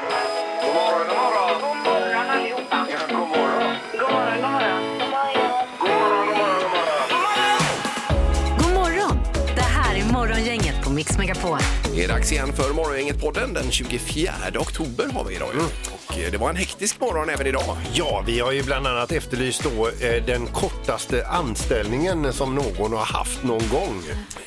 God morgon, god morgon. God morgon allihopa. Ja, god morgon. God morgon, god morgon. God morgon. God morgon, god morgon, god morgon. God morgon! Det här är Morgongänget på Mix Megapol. Det är dags igen för Morgongänget-podden. Den 24 oktober har vi idag. ju. Och eh, det var en hektisk morgon även idag. Ja, vi har ju bland annat efterlyst då eh, den kortaste anställningen som någon har haft någon gång.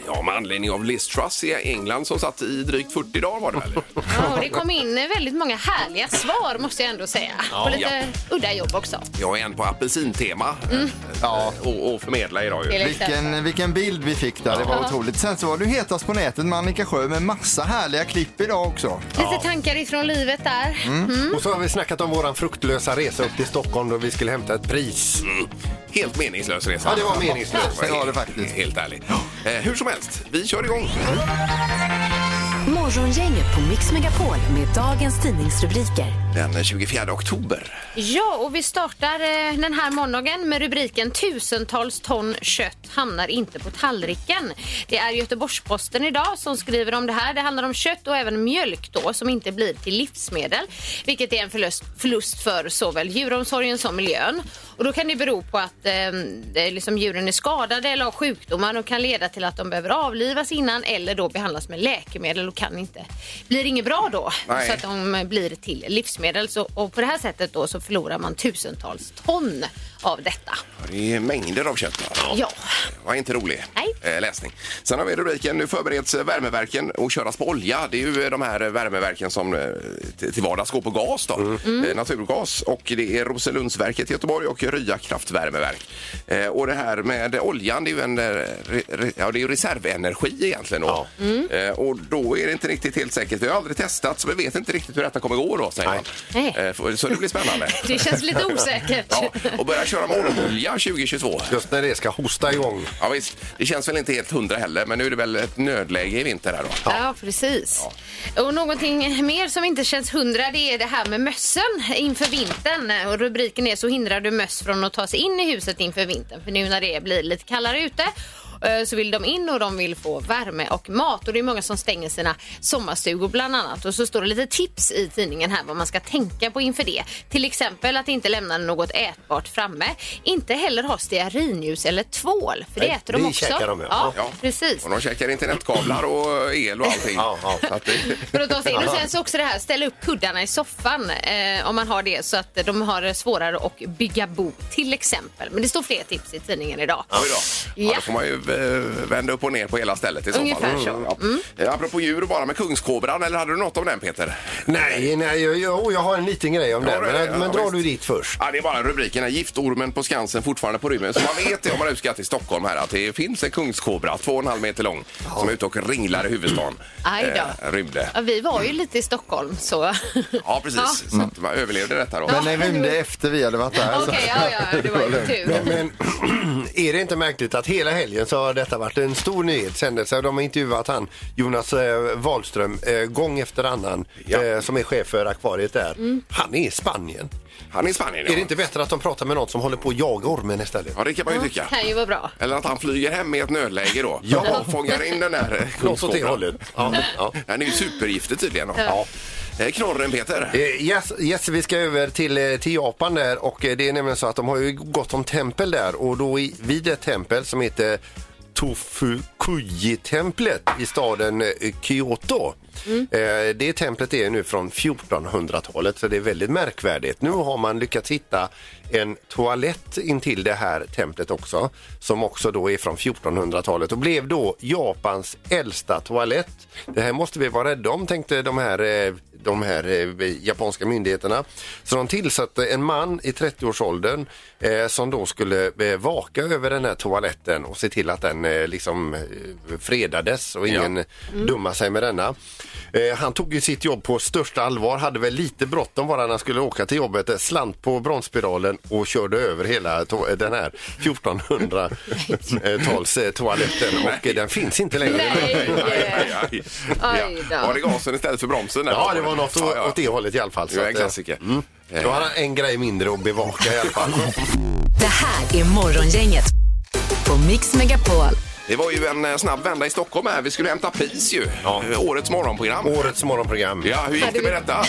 Ja, med anledning av Liz Truss i England som satt i drygt 40 dagar var det väl? Ja, och det kom in väldigt många härliga svar måste jag ändå säga. Ja, och lite udda jobb också. Jag är en på apelsintema mm. Ja. och, och förmedla idag ju. Eller- Vilken, vilken bild vi fick där, det var otroligt. Sen så var du hetast på nätet med Annika Sjö med massa härliga klipp idag också. Lite tankar ifrån livet där. Mm. Och så har vi snackat om våran fruktlösa resa upp till Stockholm då vi skulle hämta ett pris. Mm. Helt meningslös resa. Ja, det var meningslöst. Det var det faktiskt. Helt ärligt. Eh, hur som helst, vi kör igång. Morgongänget på Mix Megapol med dagens tidningsrubriker. Den 24 oktober. Ja, och vi startar eh, den här måndagen med rubriken Tusentals ton kött hamnar inte på tallriken. Det är Göteborgs-Posten idag som skriver om det här. Det handlar om kött och även mjölk då som inte blir till livsmedel, vilket är en förlust, förlust för såväl djuromsorgen som miljön. Och då kan det bero på att eh, det är liksom djuren är skadade eller har sjukdomar och kan leda till att de behöver avlivas innan eller då behandlas med läkemedel och kan inte, blir inget bra då. Nej. Så att de blir till livsmedel. Så, och på det här sättet då så förlorar man tusentals ton av detta. Det är mängder av kött. va? Ja. var inte rolig Nej. eh, läsning. Sen har vi rubriken Nu förbereds eh, värmeverken och köras på olja. Det är ju eh, de här eh, värmeverken som eh, till till vardags går på gas, då. Eh, naturgas. Och det är Roselundsverket i Göteborg och Rya kraftvärmeverk. Eh, Och det här med oljan, det är ju, en, eh, re, re- ja, det är ju reservenergi egentligen. Då. Eh, Och då är det inte riktigt helt säkert. Vi har aldrig testat så vi vet inte riktigt hur detta kommer gå då, säger man. Nej. Eh, f- Så det blir spännande. Det känns lite osäkert. Ja, och börja köra med olja 2022. Just när det ska hosta igång. Ja, visst. Det känns väl inte helt hundra heller, men nu är det väl ett nödläge i vinter här då. Ja, precis. Och någonting mer som inte känns hundra det är det här med mössen inför vintern. Och rubriken är så hindrar du möss från att ta sig in i huset inför vintern. För nu när det blir lite kallare ute eh, så vill de in och de vill få värme och mat. Och det är många som stänger sina sommarstugor bland annat. Och så står det lite tips i tidningen här vad man ska tänka på inför det. Till exempel att inte lämna något ätbart framme. Inte heller ha stearinljus eller tvål. För det Nej, äter de det också. käkar de, ja. ja. Ja. precis. Och de käkar internetkablar och el och allting. Ja, ja. Så att det- För att ta sig in. Och sen så också det här, ställa upp kuddarna i soffan eh, om man har det så att de har det svårare att bygga bo till exempel. Men det står fler tips i tidningen idag. Oj då. Ja, Ja. då får man ju eh, vända upp och ner på hela stället i så fall. Ungefär så. Mm. Ja. Eh, Apropå djur och bara med kungskobran, eller hade du något om den Peter? Nej, nej, jag, jag, jag har en liten grej om Ja, det. det- Men, ja, men drar visst. du dit först? Ja, det är bara rubriken här, giftormen på Skansen fortfarande på rymmen. Så man vet det om man är ute och ska till Stockholm här att det finns en kungskobra, två och en halv meter lång, som är ute och ringlar i huvudstaden. Aj då. Eh, rymde. Ja, vi var ju lite i Stockholm så... Ja, precis. Så att man överlevde detta då. Men den rymde efter vi hade varit där. Okej, så- ja, ja, det var ju tur. Men är det inte märkligt att hela helgen så har detta varit en stor nyhetshändelse. De har intervjuat han Jonas eh, Wahlström eh, gång efter annan Ja. Mm. eh, som är chef för akvariet där. Han är i Spanien. Han är i Spanien. ja. Är det inte bättre att de pratar med någon som håller på att jaga ormen istället? Ja, det kan man ju tycka. kan ju vara bra. Eller att han flyger hem i ett nödläge då. Ja. Och fångar in den där eh, Något åt det kungskobran. hållet. Ja, ja. Den är ju supergiftig tydligen. Då. Ja. Eh, Knorren Peter. Eh, Yes, yes, vi ska över till, eh, till Japan där och eh, det är nämligen så att de har ju gott om tempel där och då i, vid ett tempel som heter Tofukuji-templet i staden eh, Kyoto. Eh, Det templet är nu från 1400-talet så det är väldigt märkvärdigt. Nu har man lyckats hitta en toalett intill det här templet också som också då är från 1400-talet och blev då Japans äldsta toalett. Det här måste vi vara rädda om tänkte de här eh, de här eh, japanska myndigheterna. Så de tillsatte en man i 30-årsåldern eh, som då skulle eh, vaka över den här toaletten och se till att den eh, liksom eh, fredades och ingen dumma sig med denna. Eh, han tog ju sitt jobb på största allvar, hade väl lite bråttom bara när han skulle åka till jobbet, eh, slant på bromspedalen och körde över hela to- eh, den här 1400-tals eh, toaletten och eh, den finns inte längre. Nej. Aj, aj. Oj då. Ja. Var det gasen istället för bromsen? där? Ja, det var något å- åt det hållet i alla fall. Det var en att, eh, klassiker. då har han en grej mindre att bevaka i alla fall. Det här är Morgongänget på Mix Megapol. Det var ju en eh, snabb vända i Stockholm här. Vi skulle hämta pris ju. Eh, Årets morgonprogram. Årets morgonprogram. Ja, hur gick det med detta?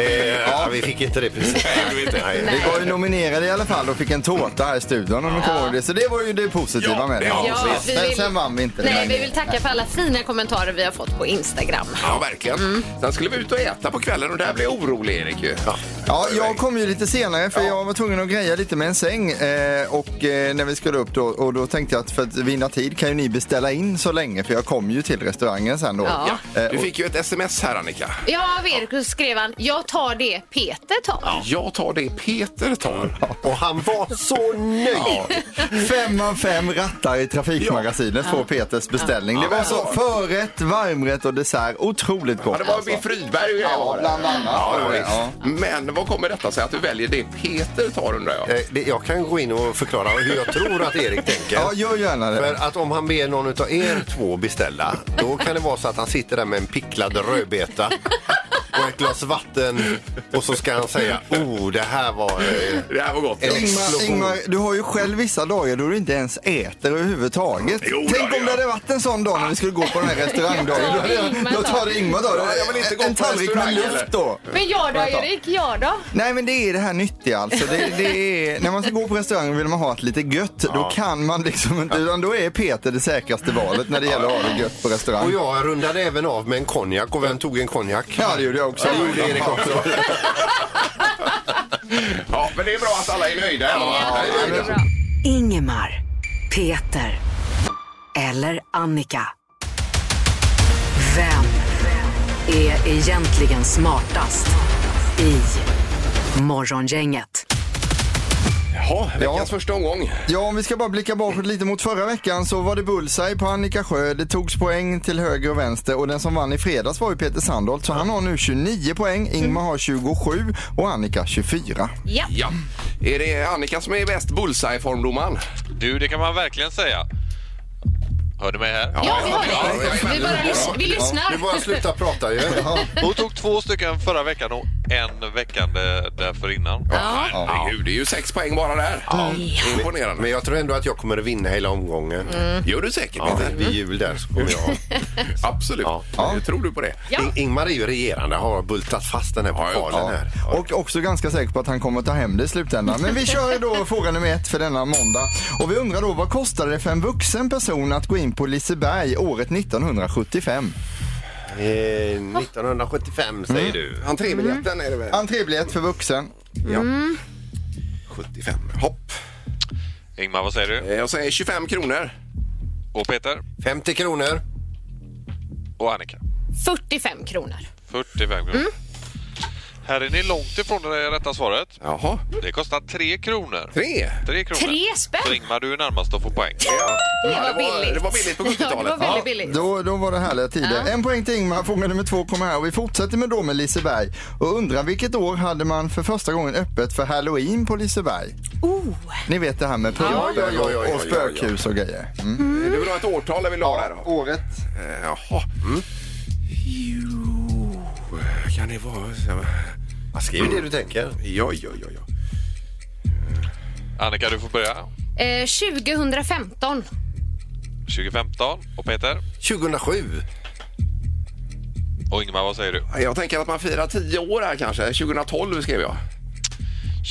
Eh, ja, vi fick inte det precis. Nej, du vet inte. Nej. Vi var ju nominerade i alla fall och fick en tårta här i studion om ni kommer ihåg det. Så det var ju det positiva Ja, med det. det var Ja, vi Men vill- sen vann vi inte. Nej, vi vill tacka för alla fina kommentarer vi har fått på Instagram. Ja, verkligen. Mm. Sen skulle vi ut och äta på kvällen och där blev jag orolig, Erik. ju. Ja, jag kom ju lite senare för Ja. jag var tvungen att greja lite med en säng eh, och eh, när vi skulle upp då och då tänkte jag att för att vinna tid kan ju ni beställa in så länge för jag kom ju till restaurangen sen då. Ja. Eh, Du och- fick ju ett sms här, Annika. Ja, av er skrev han, jag tar det Peter tar. Jag tar det Peter tar. Och han var så nöjd. Fem av fem rattar i Trafikmagasinet får Peters beställning. Det var så förrätt, varmrätt och dessert. Otroligt gott. Ja, det var alltså. Biff Rydberg och jag var Ja, det. bland annat. Ja, det var det. Ja. Men vad kommer detta sig att du väljer det Peter tar, undrar jag? Eh, det- Jag kan gå in och förklara hur jag tror att Erik tänker. Ja, gör gärna det. För att om han ber någon av er två beställa, då kan det vara så att han sitter där med en picklad rödbeta och ett glas vatten och så ska han säga oh det här var... eh, Det här var gott. Eller- Ingmar, Explosion. Ingmar, du har ju själv vissa dagar då du inte ens äter överhuvudtaget. Jo, det har Tänk om jag. det hade varit en sån dag när vi skulle gå på den här restaurangdagen. Då, hade jag- då tar det Ingmar då. jag vill inte gå en på tallrik med restaurang, luft eller? då. Men jag då Erik, jag då? Nej men det är det här nyttiga alltså. Det, det är, när man ska gå på restaurang vill man ha ett lite gött. Då kan man liksom inte, utan då är Peter det säkraste valet när det gäller att ha det gött på Och restaurang. jag rundade även av med en konjak och vem tog en konjak? Ja det gjorde jag också. Ja, det gjorde Erik också. Ja, men det är bra att alla är nöjda. Ja, Ja, det är bra. Ingemar, Peter eller Annika. Vem är egentligen smartast i Morgongänget? Jaha, veckans Ja. första omgång. Ja, om vi ska bara blicka bakåt lite mot förra veckan så var det bullseye på Annika Sjö. Det togs poäng till höger och vänster och den som vann i fredags var ju Peter Sandholt. Så han har nu 29 poäng, Ingmar har 27 och Annika 24. Ja. Ja. Är det Annika som är bäst bullseye-form, domaren? Du, det kan man verkligen säga. Hör du mig här? Ja, vi har Ja, det. ja, Vi, ja, bara ja. lys- vi lyssnar. Nu bara sluta prata ju. Hon tog två stycken förra veckan och en veckan där- därför innan. Ja. Herregud, det är ju sex poäng bara där. Imponerande. Men jag tror ändå att jag kommer att vinna hela omgången. Gör du säkert, Mm. Ja, Peter? vid jul där så kommer jag... Absolut. Ja. Ja. Tror du på det? Ja. In- Ingmar är ju regerande, har bultat fast den här Ja, ja. pokalen här. Och också ganska säker på att han kommer att ta hem det i slutändan. Men vi kör då fråga nummer ett för denna måndag. Och vi undrar då vad kostade det för en vuxen person att gå in på Liseberg året 1975? Eh, 1975 säger du. Entrébiljetten är det väl? Entrébiljett för vuxen. 75. Hopp. Ingmar, vad säger du? Eh, Jag säger 25 kronor. Och Peter? 50 kronor. Och Annika? 45 kronor. 45 kronor. Mm. Här är ni långt ifrån det rätta svaret. Jaha. Det kostar 3 kronor. Tre. Tre kronor. Tre spänn? Så Ingmar, du är närmast att få poäng. Det Ja, var billigt. Det var billigt på Ja, det 70-talet. var väldigt billigt. Då, då var det härliga tider. En poäng till Ingmar, fråga nummer två kommer här och vi fortsätter med då med Liseberg. Och undrar vilket år hade man för första gången öppet för halloween på Liseberg? Oh. Ni vet det här med pumpen ja, ja, ja, ja, och ja, ja. spökhus och grejer. Mm. Ja. Du vill ha ett årtal där vi la det här då? Året? Eh, Jaha. Mm. Jo. Kan det vara... Mm. Ja, Skriv det du tänker. Ja, ja, ja, ja. Annika, du får börja. Eh, 2015. 2015. Och Peter? 2007. Och Ingmar, vad säger du? Jag tänker att man firar 10 år här kanske. 2012 skrev jag.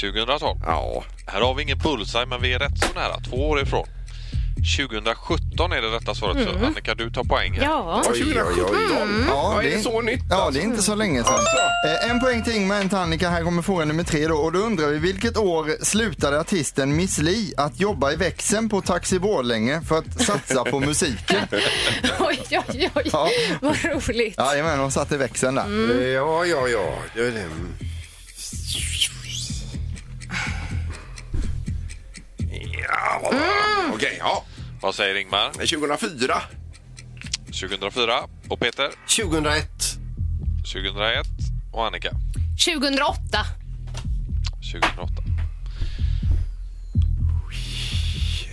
2012. Ja. Här har vi ingen bullseye, men vi är rätt så nära. Två år ifrån. 2017 är det rätta svaret. Så Annika, du tar poäng. här. Mm. Ja. Ja, Mm. 2017. Ja, är det så nytt? alltså? Ja, det är inte så länge sedan. Eh, en poäng till Ingmar, en till Annika. Här kommer fråga nummer tre då. Och då undrar vi, vilket år slutade artisten Miss Li att jobba i växeln på Taxi Borlänge för att satsa på musiken? Oj, oj, oj. Ja. Vad roligt. Jajamän, hon satt i växeln där. Eh, Ja, ja, ja. Det är det. Ja, vad bra. Mm. Okej, ja. Vad säger Ingmar? 2004. 2004. Och Peter? 2001. 2001. Och Annika? 2008. 2008.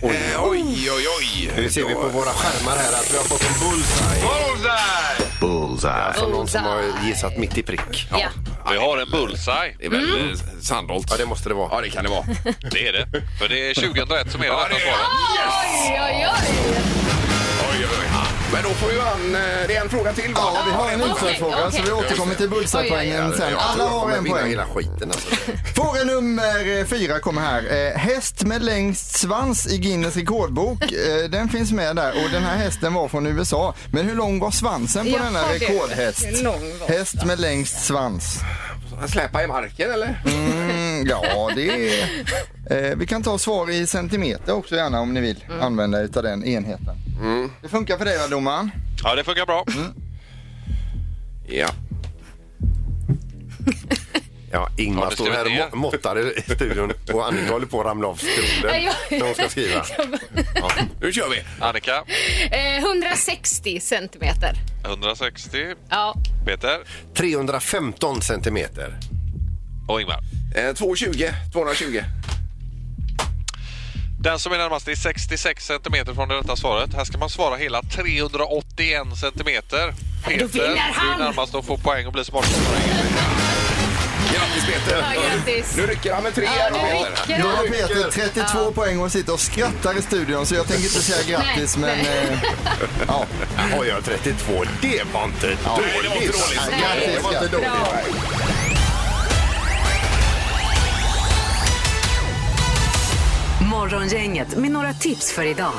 Eh, oj, oj, oj. Nu ser vi på våra skärmar här att vi har fått en bullseye. Bullseye! Bullseye. Från någon som har Bullseye. gissat mitt i prick. Ja. Vi har en bullseye. Det är väl eh, mm. Sandholt? Ja, det måste det Ja, vara. det kan det vara. Det är det. För det är 2001 som är det Ja, rätta det är- svaret. Oj, oj, oj. Ja, oj, oj. Men då får ju han... eh, Det är en fråga till, va? Ja, vi har en Okej, utslagsfråga så vi okej. återkommer till Oj, bullseye-poängen oj, sen. Jag Alla tror jag har kommer en vinna poäng. hela skiten alltså. Fråga nummer eh, fyra kommer här. Eh, Häst med längst svans i Guinness rekordbok. Eh, Den finns med där och den här hästen var från USA. Men hur lång var svansen på Jaha, denna du. rekordhäst? Hur lång var Häst med längst svans. Han släpar i marken, eller? Mm, ja, det är... Eh, vi kan ta svar i centimeter också gärna om ni vill Mm. använda er av den enheten. Det funkar för dig va domaren? Ja, det funkar bra. Ja. Ja, Har Ingmar du står här och skrivit må- måttar i studion och Annika håller på att ramla av stolen Ja, jag- när hon ska skriva. Ja. Nu kör vi! Annika, Eh, 160 centimeter. 160. Ja. Peter 315 centimeter. och Ingmar. Eh, 220. 220. Den som är närmast är 66 centimeter från det rätta svaret. Här ska man svara hela 381 centimeter. Peter vinner är han! närmast att få poäng och bli smartast. på poängen. Grattis, Peter! Ja, grattis. Nu rycker han med tre här, nu Peter. rycker Jag han. har Peter 32 poäng och sitter och skrattar i studion så jag tänker inte säga grattis Nej, men... nej. Eh, ja. Har jag 32? Det var inte det var inte dåligt. dåligt. Nej, Det var inte bra. dåligt. Morgongänget med några tips för idag.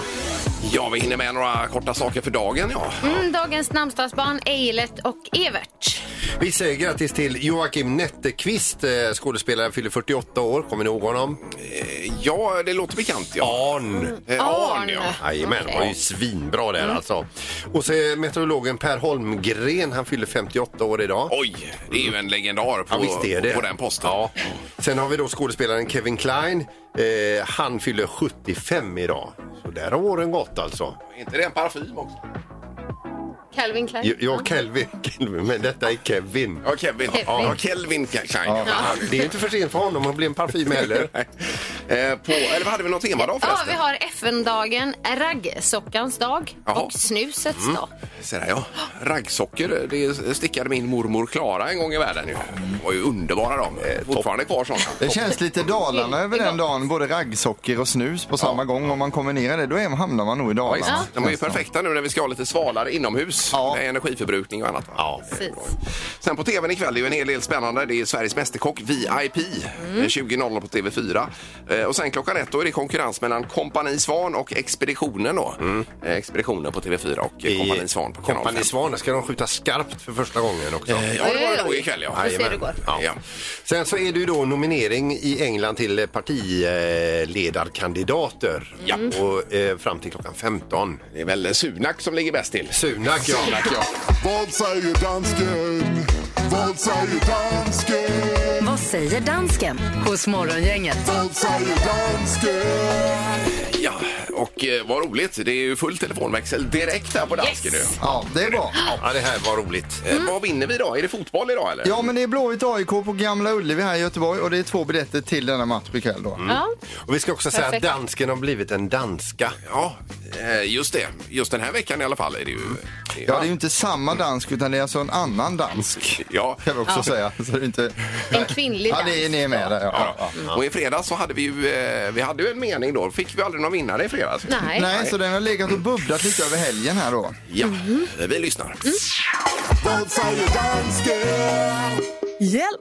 Ja, vi hinner med några korta saker för dagen, ja. Mm, dagens namnsdagsbarn Eilert och Evert. Vi säger grattis till Joakim Netteqvist, eh, skådespelare, fyller 48 år. Kommer ni ihåg honom? Eh, Ja, det låter bekant, ja. Arn. Eh, Arn, ja. Jajamän, var ju svinbra där alltså. Och så är meteorologen Per Holmgren, han fyller 58 år idag. Oj, det är ju en legendar på, Ja, visst är det. på den posten. Ja. Sen har vi då skådespelaren Kevin Klein. Eh, han fyller 75 idag. Så där har åren gått alltså. Är inte det en parfym också? Calvin Klein. Ja, ja Kelvin, Kelvin, men detta är Kevin. Ja, Kevin. Kevin. Ja, Kelvin kanske. Ja, Det är inte för sent för honom att bli en parfym heller. Nej. Eh, på, eller hade vi någon temadag Ja, förresten? vi har FN-dagen, raggsockans dag Jaha. Mm. och snusets dag. Se där, ja. Raggsockor, det stickade min mormor Klara en gång i världen. Ju. Det var ju underbara de. Eh, Fortfarande kvar sådana. Det känns lite Dalarna över den dagen, både raggsocker och snus på samma gång. Om man kommer ner i det, då är, hamnar man nog i Ja, visst. Dalarna. De är ju perfekta nu när vi ska ha lite svalare inomhus Ja. med energiförbrukning och annat. va? Ja. Precis. Sen på tvn ikväll är ju en hel del spännande. Det är Sveriges Mästerkock VIP. eh, 20.00 på TV4. Eh, Och sen klockan ett då är det konkurrens mellan Kompani Svan och Expeditionen då. Eh, Expeditionen på TV4 och eh, Kompani Svan på kanal Kompani 5. Svan, ska de skjuta skarpt för första gången också. Ja, det var det nog ikväll ja. Får se hur det Jajamän. går. Ja. Ja. Sen så är det ju då nominering i England till partiledarkandidater. Ja. Mm. Och eh, fram till klockan 15. Det är väl Sunak som ligger bäst till. Sunak, ja. Sunak, ja. Vad säger dansken? Vad säger dansken? Vad säger dansken hos Morgongänget? Vad säger dansken? ja. Och eh, vad roligt, det är ju full telefonväxel direkt här på dansken nu. Ja, det är bra. Ja, det här var roligt. Eh, Vad vinner vi idag? Är det fotboll idag eller? Ja, men det är Blåvitt AIK på Gamla Ullevi här i Göteborg och det är två biljetter till denna match ikväll då. Ja. Och vi ska också säga Perfekt. att dansken har blivit en danska. Ja, eh, just det. Just den här veckan i alla fall är det ju... det är- Mm. Ja, det är ju inte samma dansk utan det är alltså en annan dansk. Ja. Kan vi också säga. Så det är inte... En kvinnlig Ja, det är, ni är med där. Ja. Ja. Och i fredags så hade vi ju, eh, vi hade ju en mening då. Fick vi aldrig någon vinnare i fredags? Nej. Nej, så den har legat och bubblat lite över helgen här då. Ja, Mhm. vi Mm. lyssnar. Vad säger dansken? Hjælp!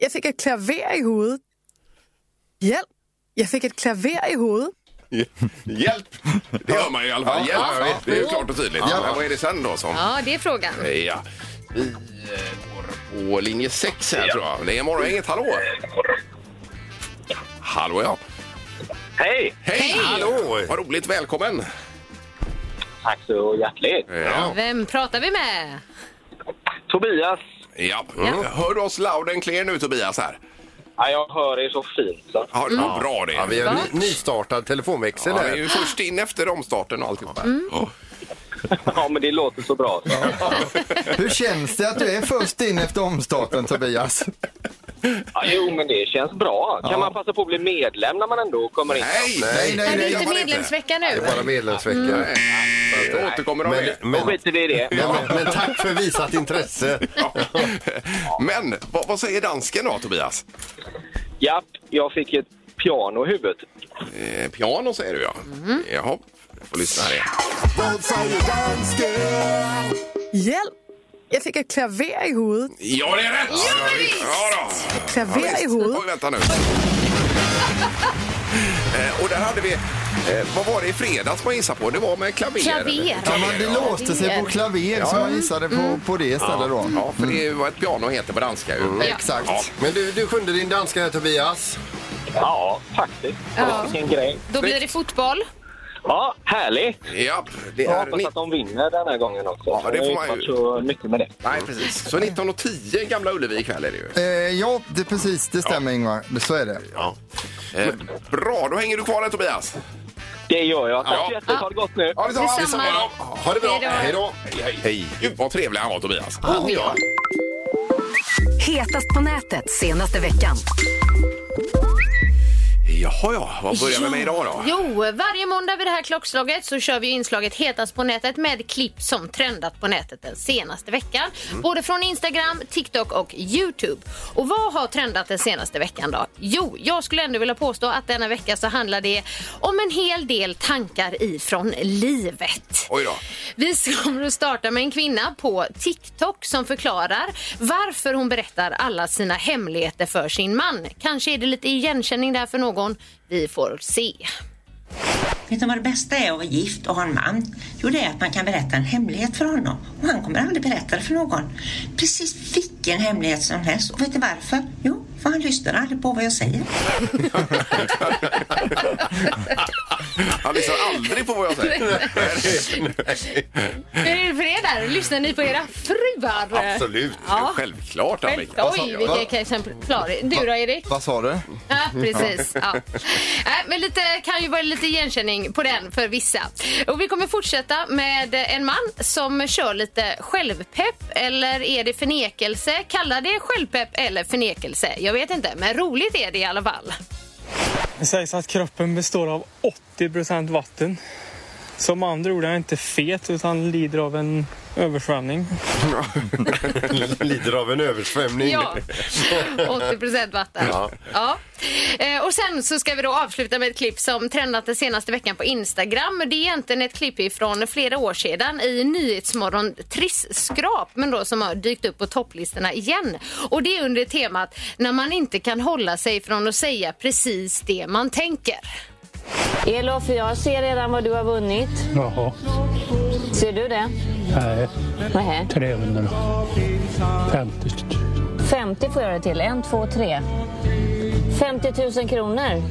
Jeg fik et klaver i hovedet. Hjælp! Jag fick ett klaver i hovedet. Hjälp! Det hör man ju i alla fall. Hjälp! ja, ja. Det är ju klart och tydligt. Ja. Men vad är det sen då som... Ja, det är frågan. Eh, Ja. Vi eh, går på linje 6 här tror jag. Det är Morgongänget. Hallå! Hallå ja. Hej! Hej! Hallå! Vad roligt. Välkommen! Tack så hjärtligt. Ja. Vem pratar vi med? Tobias, ja. Hör du oss loud and clear nu Tobias här? ja, jag hör er så fint. Så. Ja, vad bra det är. Ja, vi har en ny- nystartad telefonväxel Ja, vi är här. ju först in efter omstarten och alltihopa. Ja. Ja, men det låter så bra. Så. Hur känns det att du är först in efter omstarten Tobias? Ja, jo, men det känns bra. Kan man passa på att bli medlem när man ändå kommer in? Nej, Nej, nej, Är det nej. gör inte man medlemsvecka nu? Bara medlemsvecka. Mm. inte. Jag återkommer om det. Men, men, Skiter vi i det. men, men tack för visat intresse. Men vad, vad säger dansken då, Tobias? Japp, jag fick ett piano i huvudet. Eh, piano säger du ja. Jaha, jag får lyssna här igen. Vad säger dansken? Hjälp! Jag fick ett klaver i huvudet. Ja, det är rätt! Ja, visst. ja då. Klaver Ja, i visst. huvudet. Oj, vänta nu. Eh, Och där hade vi, eh, vad var det i fredags man gissade på? Det var med klaver. Klaver. Ja, Ja, men det låste sig på klaver så man gissade på, på det istället då. Ja, för det är ju vad ett piano heter på danska. Ju. Ja. Exakt. Ja. Men du, du kunde din danska här Tobias. Ja, faktiskt. Ja. Vilken grej. Då blir det fotboll. Ja, härligt. Ja, det Jag är hoppas ni- att de vinner den här gången också. Ja, det får Jag man har ju. inte varit så mycket med det. Nej, precis. Mm. Så 19.10 i Gamla Ullevi ikväll är det ju. Eh, ja, det är precis. Det stämmer Ingvar. Det- Så är det. Eh, Bra, då hänger du kvar där Tobias. Det gör jag. Tack Ja. så jättemycket. Ha det gott nu. Ja, detsamma. Detsamma. Ha det bra. Hej då. Hej då. Hej, hej. Gud, vad trevlig han var Tobias. Oh, ja. Hetast på nätet senaste veckan. Jaha, ja. Vad börjar vi med idag då? Jo, varje måndag vid det här klockslaget så kör vi ju inslaget Hetast på nätet med klipp som trendat på nätet den senaste veckan. Mm. Både från Instagram, TikTok och Youtube. Och vad har trendat den senaste veckan då? Jo, jag skulle ändå vilja påstå att denna vecka så handlar det om en hel del tankar ifrån livet. Oj då. Vi kommer att starta med en kvinna på TikTok som förklarar varför hon berättar alla sina hemligheter för sin man. Kanske är det lite igenkänning där för någon. Vi får se. Vet du vad det bästa är att vara gift och ha en man? Jo, det är att man kan berätta en hemlighet för honom. Och han kommer aldrig berätta det för någon. Precis vilken hemlighet som helst. Och vet du varför? Jo, för han lyssnar aldrig på vad jag säger. Han lyssnar aldrig på vad jag säger. Hur är det för er där? Lyssnar ni på era fruar? Absolut. Ja. Självklart, Självklart. Annika. Oj, vilka exempel. Klar. Du då, Erik? Vad sa du? Ja, precis. Ja. Nej, Men lite, kan ju vara lite igenkänning på den för vissa. Och vi kommer fortsätta med en man som kör lite självpepp. Eller är det förnekelse? Kalla det självpepp eller förnekelse. Jag vet inte, men roligt är det i alla fall. Det sägs att kroppen består av 80 vatten. Som andra ord är han inte fet utan lider av en översvämning. Lider av en översvämning. Ja, 80 procent vatten. Ja. Eh, Och sen så ska vi då avsluta med ett klipp som trendat den senaste veckan på Instagram. Det är egentligen ett klipp från flera år sedan i Nyhetsmorgon Triss-skrap, men då som har dykt upp på topplistorna igen. Och det är under temat när man inte kan hålla sig från att säga precis det man tänker. Elof, jag ser redan vad du har vunnit. Jaha, Ser du det? nej, Nej. 350 50 får jag det till. En, två, tre. 50 000 kronor.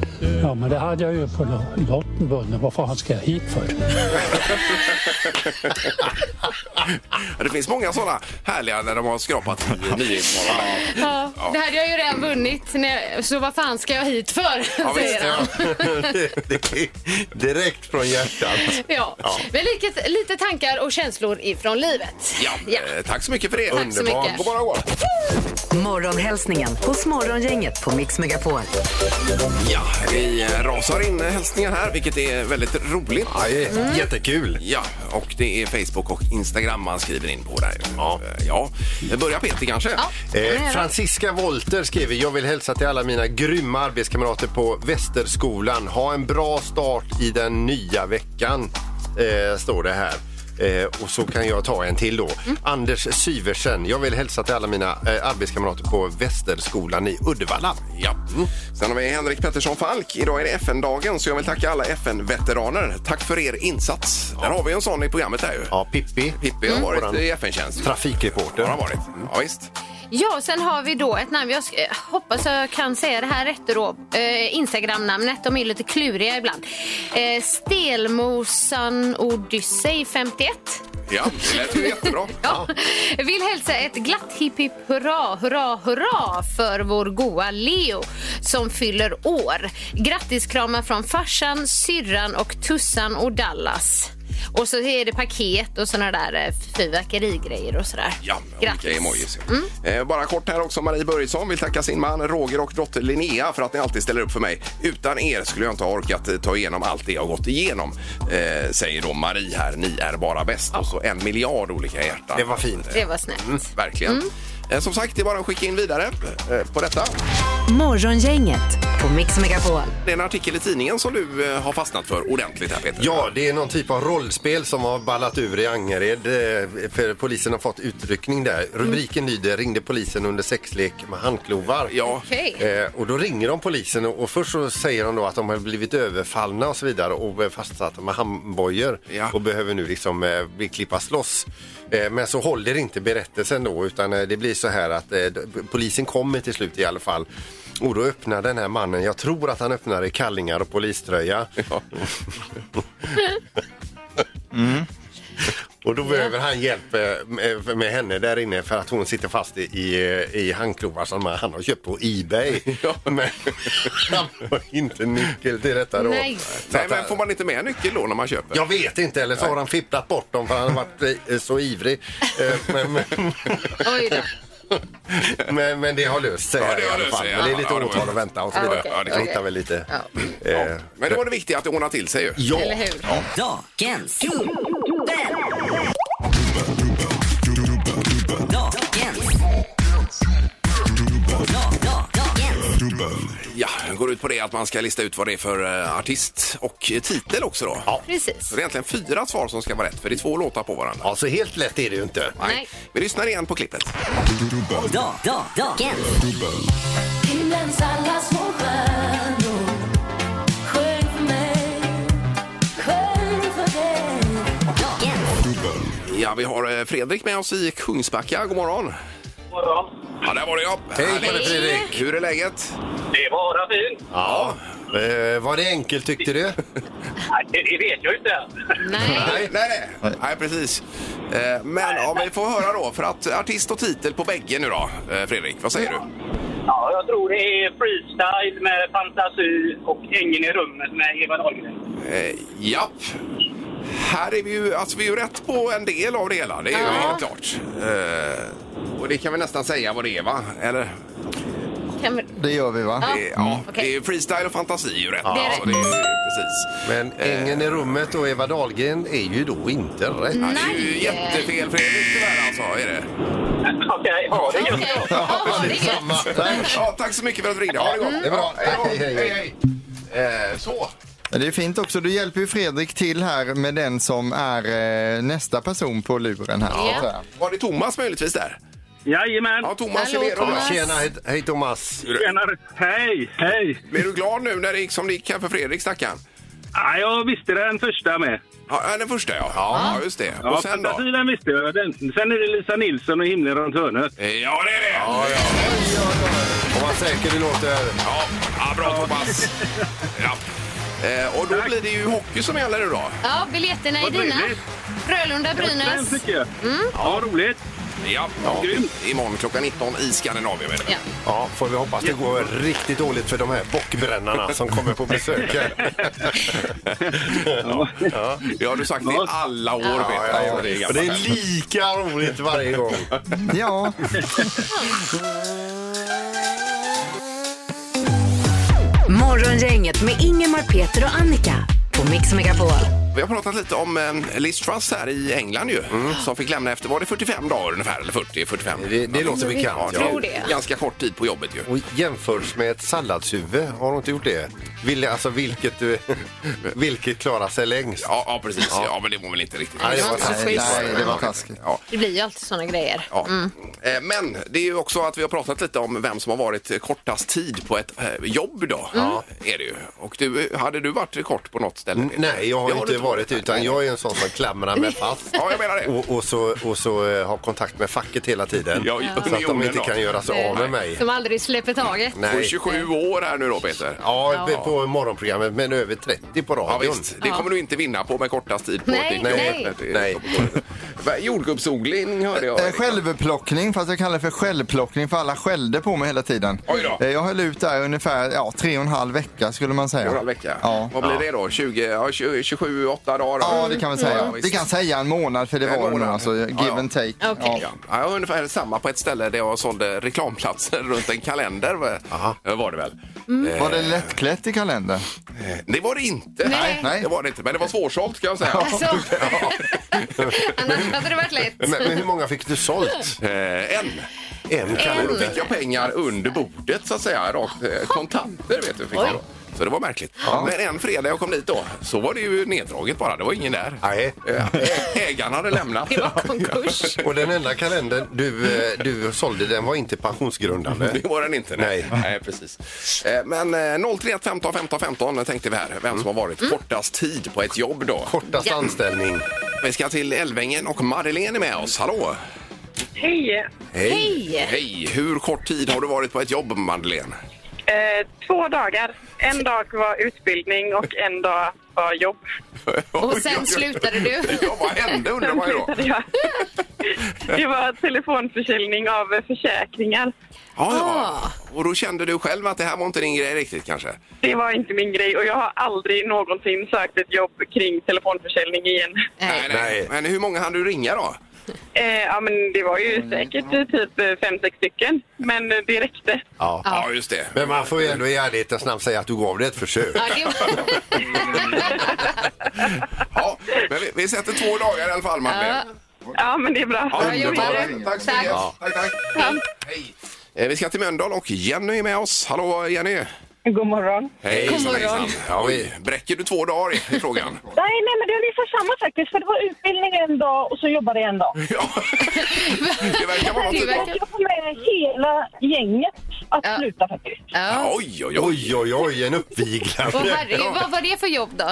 Ja, men det hade jag ju på lotten vunnit. Vad fan ska jag hit för? Ja, Det finns många sådana härliga när de har skrapat i Nyhetsmorgon. Ja, Det hade jag ju redan vunnit, när- så vad fan ska jag hit för? säger han. Det- det är Direkt från hjärtat. Ja. Men lite, lite tankar och känslor ifrån livet. Ja. eh, Tack så mycket för det. Tack så Underbart. mycket. God morgon, god morgon. Morgonhälsningen hos Morgongänget på Mix Megapol. Ja, vi eh, rasar in eh, hälsningar här, vilket är väldigt roligt. Ja, det är Jättekul. Ja, och det är Facebook och Instagram man skriver in på där. Ja. eh, ja. Börja Peter E kanske? Ja. Eh, Francisca Wolter skriver, jag vill hälsa till alla mina grymma arbetskamrater på Västerskolan. Ha en bra start i den nya veckan, eh, står det här. Eh, och så kan jag ta en till då. Anders Syversen, jag vill hälsa till alla mina eh, arbetskamrater på Västerskolan i Uddevalla. Ja. Mm. Sen har vi Henrik Pettersson Falk. Idag är det FN-dagen så jag vill tacka alla FN-veteraner. Tack för er insats. Där har vi en sån i programmet här ju. Ja, Pippi, Pippi har varit Våran i FN-tjänst. Ja, trafikreporter. det har varit. Ja, visst. Ja, sen har vi då ett namn. Jag sk- eh, hoppas jag kan säga det här rätt då. Eh, Instagram-namnet, de är ju lite kluriga ibland. Eh, Stelmosan Odyssey 51. Ja, det lät ju jättebra. Ja. Vill hälsa ett glatt hipp hipp hurra, hurra, hurra för vår goa Leo som fyller år. Grattiskramar från farsan, syrran och Tussan och Dallas. Och så är det paket och såna där eh, fyrverkerigrejer och sådär. Ja, olika emojis. ja. Eh, bara kort här också. Marie Börjesson vill tacka sin man Roger och dotter Linnea för att ni alltid ställer upp för mig. Utan er skulle jag inte ha orkat eh, ta igenom allt det jag gått igenom. Eh, säger då Marie här. Ni är bara bäst. Och så en miljard olika hjärtan. Det var fint. Det var snällt. Mm. Verkligen. Eh, som sagt, det är bara att skicka in vidare eh, på detta. Morgongänget på Mix Megapol. Det är en artikel i tidningen som du eh, har fastnat för ordentligt här Peter. Ja, det är någon typ av rollspel som har ballat ur i Angered. eh, För polisen har fått utryckning där. Mm. Rubriken lyder Ringde polisen under sexlek med handklovar. Ja. Okej. Eh, och då ringer de polisen och och först så säger de då att de har blivit överfallna och så vidare och är fastsatta med handbojor Ja. och behöver nu liksom eh, bli- klippas loss. Eh, men så håller inte berättelsen då utan eh, det blir så här att eh, d- polisen kommer till slut i alla fall. Och då öppnar den här mannen, jag tror att han öppnar i kallingar och poliströja. Och då behöver han hjälp eh, med- med henne där inne för att hon sitter fast i, i, i handklovar som han har köpt på Ebay. Men han har inte nyckel till detta då. Nej. Så Nej, att men han- får man inte med nyckel då när man köper? Jag vet inte, eller så har han fipplat bort dem för han har varit eh, så ivrig. Eh, Men, men, Oj då. men, men det har löst sig Ja, här det i har alla löst fall. sig, Men det är ja. lite Ja, det var åtal ju- att vänta och så Ja, vidare. okej, det kan okej. hitta väl lite. Ja. Eh, Men det var det viktiga att det ordnar till sig ju. ja. Eller hur? Dagens dubbel. Dagens. Da- da- Dagens. Ja, det går ut på det att man ska lista ut vad det är för eh, artist och eh, titel också då. Precis. Så det är egentligen fyra svar som ska vara rätt, för det är två låtar på varandra. ja, så alltså helt lätt är det ju inte. Nej. Vi lyssnar igen på klippet. Da- da- Dagens. Himlens alla små stjärnor Sjung för mig, sjung för dig Dagens. Ja, vi har eh, Fredrik med oss i Kungsbacka. God morgon! Ja, där var det ja. Hej på Härligt. dig Fredrik! Hur är läget? Det var fint. Ja. Eh, var det enkelt tyckte du? Nej, Det, det vet jag inte. Nej. Nej, nej, nej. nej precis. Eh, Men ja, vi får höra då, för att artist och titel på bägge nu då, eh, Fredrik. Vad säger du? Ja, jag tror det är freestyle med fantasi och Ängen i rummet med Eva Dahlgren. Eh, Japp. Här är vi ju, alltså vi är ju rätt på en del av det hela, det är ju helt klart. Eh, Och det kan vi nästan säga vad det är va? Eller? Kan vi... Det gör vi va? Ja. Mm. Det, Eh, ja, Okej. det är freestyle och fantasi är ju rätt. Det är alltså, rätt. det är, precis. Men eh, Ängen i rummet och Eva Dahlgren är ju då inte rätt. Ja, det är ju Nej. jättefel Fredrik tyvärr alltså, är det. Okej, ha det gött. Okej. Ja, det är gött. Ja, tack så mycket för att du ringde. Ha det gott. Mm. Det är bra. Hej, hej, hej. Eh, Så. Det är fint också. Du hjälper ju Fredrik till här med den som är eh, nästa person på luren här. så att säga. Var det Thomas möjligtvis där? Jajamän. Ja, Thomas Hallå, Hellerud. Thomas. Tjena, hej, hej Thomas. Tjenare. Hej, hej. Blev du glad nu när det gick som det gick här för Fredrik, stackarn? Ja, jag visste den första med. Ja, den första ja. Ja, just det. Ja, Och sen då? fantasi, den visste jag. Den. Sen är det Lisa Nilsson och Himlen runt hörnet. Eh, Ja, det är det! Ja, ja. Och vad säker du låter. ja. bra Thomas. Ja. Eh, och då blir det ju hockey som gäller idag. Ja, biljetterna är Vad dina. trevligt. Den Frölunda-Brynäs. tycker jag. Ja, roligt. Ja, Grymt. Imorgon klockan 19 i Skandinavien. är det. Ja. Ja, får vi hoppas det går riktigt dåligt för de här bockbrännarna som kommer på besök här. Ja. Det har du sagt i alla år, Peter. Alltså, Ja, det, är det är lika roligt varje gång. Ja, Morgongänget med Ingemar, Peter och Annika på Mix Megapol. Vi har pratat lite om eh, Liz Truss här i England ju, som fick lämna efter, var det 45 dagar ungefär? Eller 40, 45? Mm. Det, det låter Ja, bekant. det är Ja. tror det. Ganska kort tid på jobbet ju. Och jämförs med ett salladshuvud. Har du inte gjort det? Vill, alltså vilket, du- vilket klarar sig längst? Ja, ja precis. Ja. men det var väl inte riktigt. Nej, det var nej, nej, det var taskigt. Ja. Det blir ju alltid såna grejer. Ja. Eh, Men det är ju också att vi har pratat lite om vem som har varit kortast tid på ett eh, jobb då. Är det ju. Och du, hade du varit kort på något ställe? N- Nej, jag har Det inte du varit utan jag är en sån som klamrar mig fast. Ja, jag menar det. Och, och, så, och så eh, har kontakt med facket hela tiden. Ja, Så att de unionen inte då. kan göra sig av med mig. Som aldrig släpper taget. Du är Nej. 27 år här nu då Peter. Ja, på morgonprogrammet, men över 30 på Ja, radion. visst. Det kommer du inte vinna på med kortast tid på Nej, ett nej. jobb. Nej. Va, Jordgubbsodling hörde jag. Eh, Självplockning, fast jag kallar det för självplockning för alla skällde på mig hela tiden. Oj då. Eh, Jag höll ut där ungefär ja, tre och en halv vecka skulle man säga. En halv vecka. Ja. Vad blir det då? 20, ja, 20, 27, 8 dagar? då? Ja, det kan vi säga. Ja, vi visst. kan säga en månad för det Mm. En var en månad. alltså, give Ja, ja. and take. Okej. Ja. Ja, jag var ungefär samma på ett ställe där jag sålde reklamplatser runt en kalender. va- Var det väl? Var det lättklätt i kalendern? Det var det inte. Nej. Nej. Det var det inte, men det var svårsålt kan jag säga. Alltså. Annars hade det varit lätt. Men, men hur många fick du sålt? Eh, en. En Och då fick jag pengar under bordet så att säga. Rakt eh, kontanter vet du. Fick jag då. Så det var märkligt. Men en fredag jag kom dit då så var det ju neddraget bara. Det var ingen där. Eh, Nej. Ägaren hade lämnat. Det var konkurs. Och den enda kalendern du, eh, du sålde, den var inte pensionsgrundande. Det var den inte. Nej, nej. precis. Eh, Men eh, 031 15 15 15 tänkte vi här. Vem som har varit Mm. kortast tid på ett jobb då. Kortast Ja. anställning. Vi ska till Älvängen och Madeleine är med oss. Hallå! Hej! Hej! Hej! Hur kort tid har du varit på ett jobb, Madeleine? Eh, två dagar. En dag var utbildning och en dag var jobb. Och sen slutade du. Ja, vad hände undrar Sen man ju då. slutade jag. Det var telefonförsäljning av eh, försäkringar. Ja, ja. Och då kände du själv att det här var inte din grej riktigt kanske? Det var inte min grej och jag har aldrig någonsin sökt ett jobb kring telefonförsäljning igen. Nej, nej. Men hur många hann du ringa då? Eh, ja, men det var ju säkert eh, typ eh, fem, sex stycken, men eh, det räckte. Ja. ja, just det. Men man får ju ändå i ärlighetens namn säga att du gav det ett försök. Ja, det var... Men vi, vi sätter två dagar i alla fall, Madeleine. Ja, men det är bra. Ja, underbart. Tack så mycket. Tack, tack. Eh, Vi ska till Mölndal och Jenny är med oss. Hallå Jenny! God morgon. Hej, God morgon. Ja, vi bräcker du två dagar i frågan? Nej, nej, men det är ungefär samma faktiskt. För det var utbildning en dag och så jobbade jag en dag. Det verkar vara något Det typ av... verkar få med hela gänget att sluta faktiskt. Oj, oj, oj. Oj, oj, en uppviglande. Åh, herregud, vad var det för jobb då?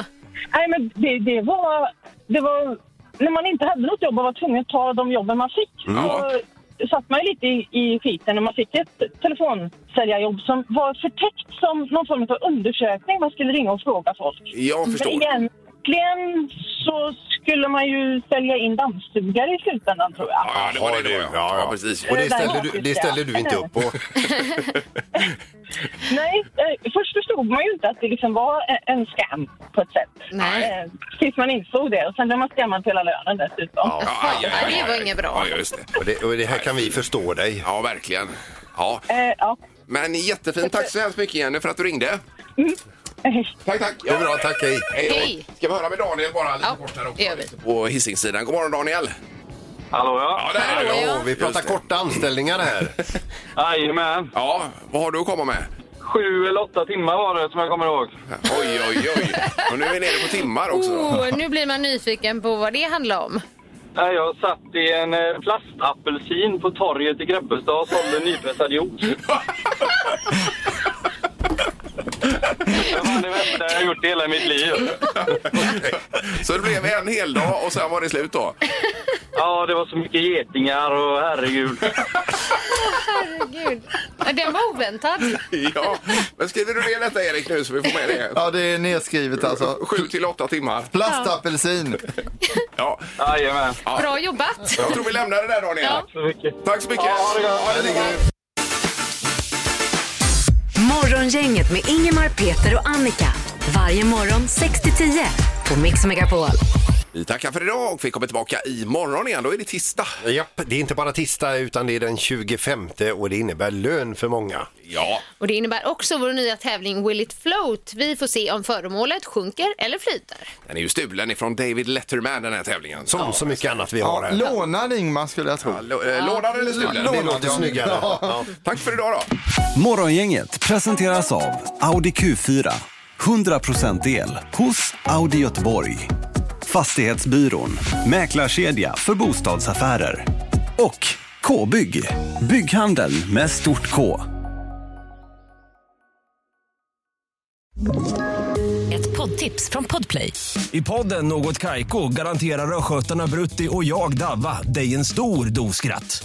Nej, men det, det, var, det var... När man inte hade något jobb och var tvungen att ta de jobben man fick Mm. så satt man ju lite i, i skiten när man fick ett telefonsäljarjobb som var förtäckt som någon form av undersökning. Man skulle ringa och fråga folk. Jag förstår. Men egentligen så skulle man ju sälja in dammsugare i slutändan, tror jag. Ja, det var det då. Ja, ja, precis. Och det ställer du- det ställer du inte upp på. Nej, eh, först förstod man ju inte att det liksom var e- en scam på ett sätt. Nej. Eh, Tills man insåg det och sen blev man scammad på hela lönen dessutom. Nej, det var inget bra. Ja, just det. Och det, och det här kan vi förstå dig. Ja, verkligen. Ja. Eh, ja. Men jättefint. Tack så hemskt mycket Jenny för att du ringde. Tack, tack. Det är bra, tack. Hej. då. Hej. Ska vi höra med Daniel bara lite Ja, kort här det gör vi. på Hisingssidan. God morgon Daniel! Hallå ja! där är du. Åh, vi pratar korta anställningar här. Jajamän! Ja, vad har du att komma med? Sju eller åtta timmar var det som jag kommer ihåg. Oj, oj, oj. Och nu är vi nere på timmar också. Oh, nu blir man nyfiken på vad det handlar om. Nej, jag satt i en eh, plastapelsin på torget i Grebbestad och sålde nypressad juice. Det var det värsta jag har gjort i hela mitt liv. Så det blev en hel dag och sen var det slut då? Ja, det var så mycket getingar och herregud. Herregud. Den var oväntad. Ja, men skriver du ner detta Erik nu så vi får med det? Ja, det är nedskrivet alltså. Sju till åtta timmar. Plastapelsin. Ja. Jajamän. Bra jobbat. Jag tror vi lämnar det där Daniel. Ja. Tack så mycket. Tack så mycket. Ja, det Morgongänget med Ingemar, Peter och Annika. Varje morgon 6 till 10 på Mix Megapol. Vi tackar för idag och vi kommer tillbaka imorgon igen. Då är det tisdag. Japp, det är inte bara tisdag utan det är den 25 och det innebär lön för många. Ja. Och det innebär också vår nya tävling Will it float? Vi får se om föremålet sjunker eller flyter. Den är ju stulen ifrån David Letterman den här tävlingen. Som så mycket annat vi Ja, lånad Ingmar skulle jag tro. eh, lånad eller stulen? Lånad, Det låter ja. snyggare. Ja. Ja. Tack för idag då. Morgongänget presenteras av Audi Q4. 100% el hos Audi Göteborg. Fastighetsbyrån, mäklarkedja för bostadsaffärer. Och K-bygg, bygghandeln med stort K. Ett poddtips från Podplay. I podden Något Kaiko garanterar östgötarna Brutti och jag, Davva, dig en stor dos skratt.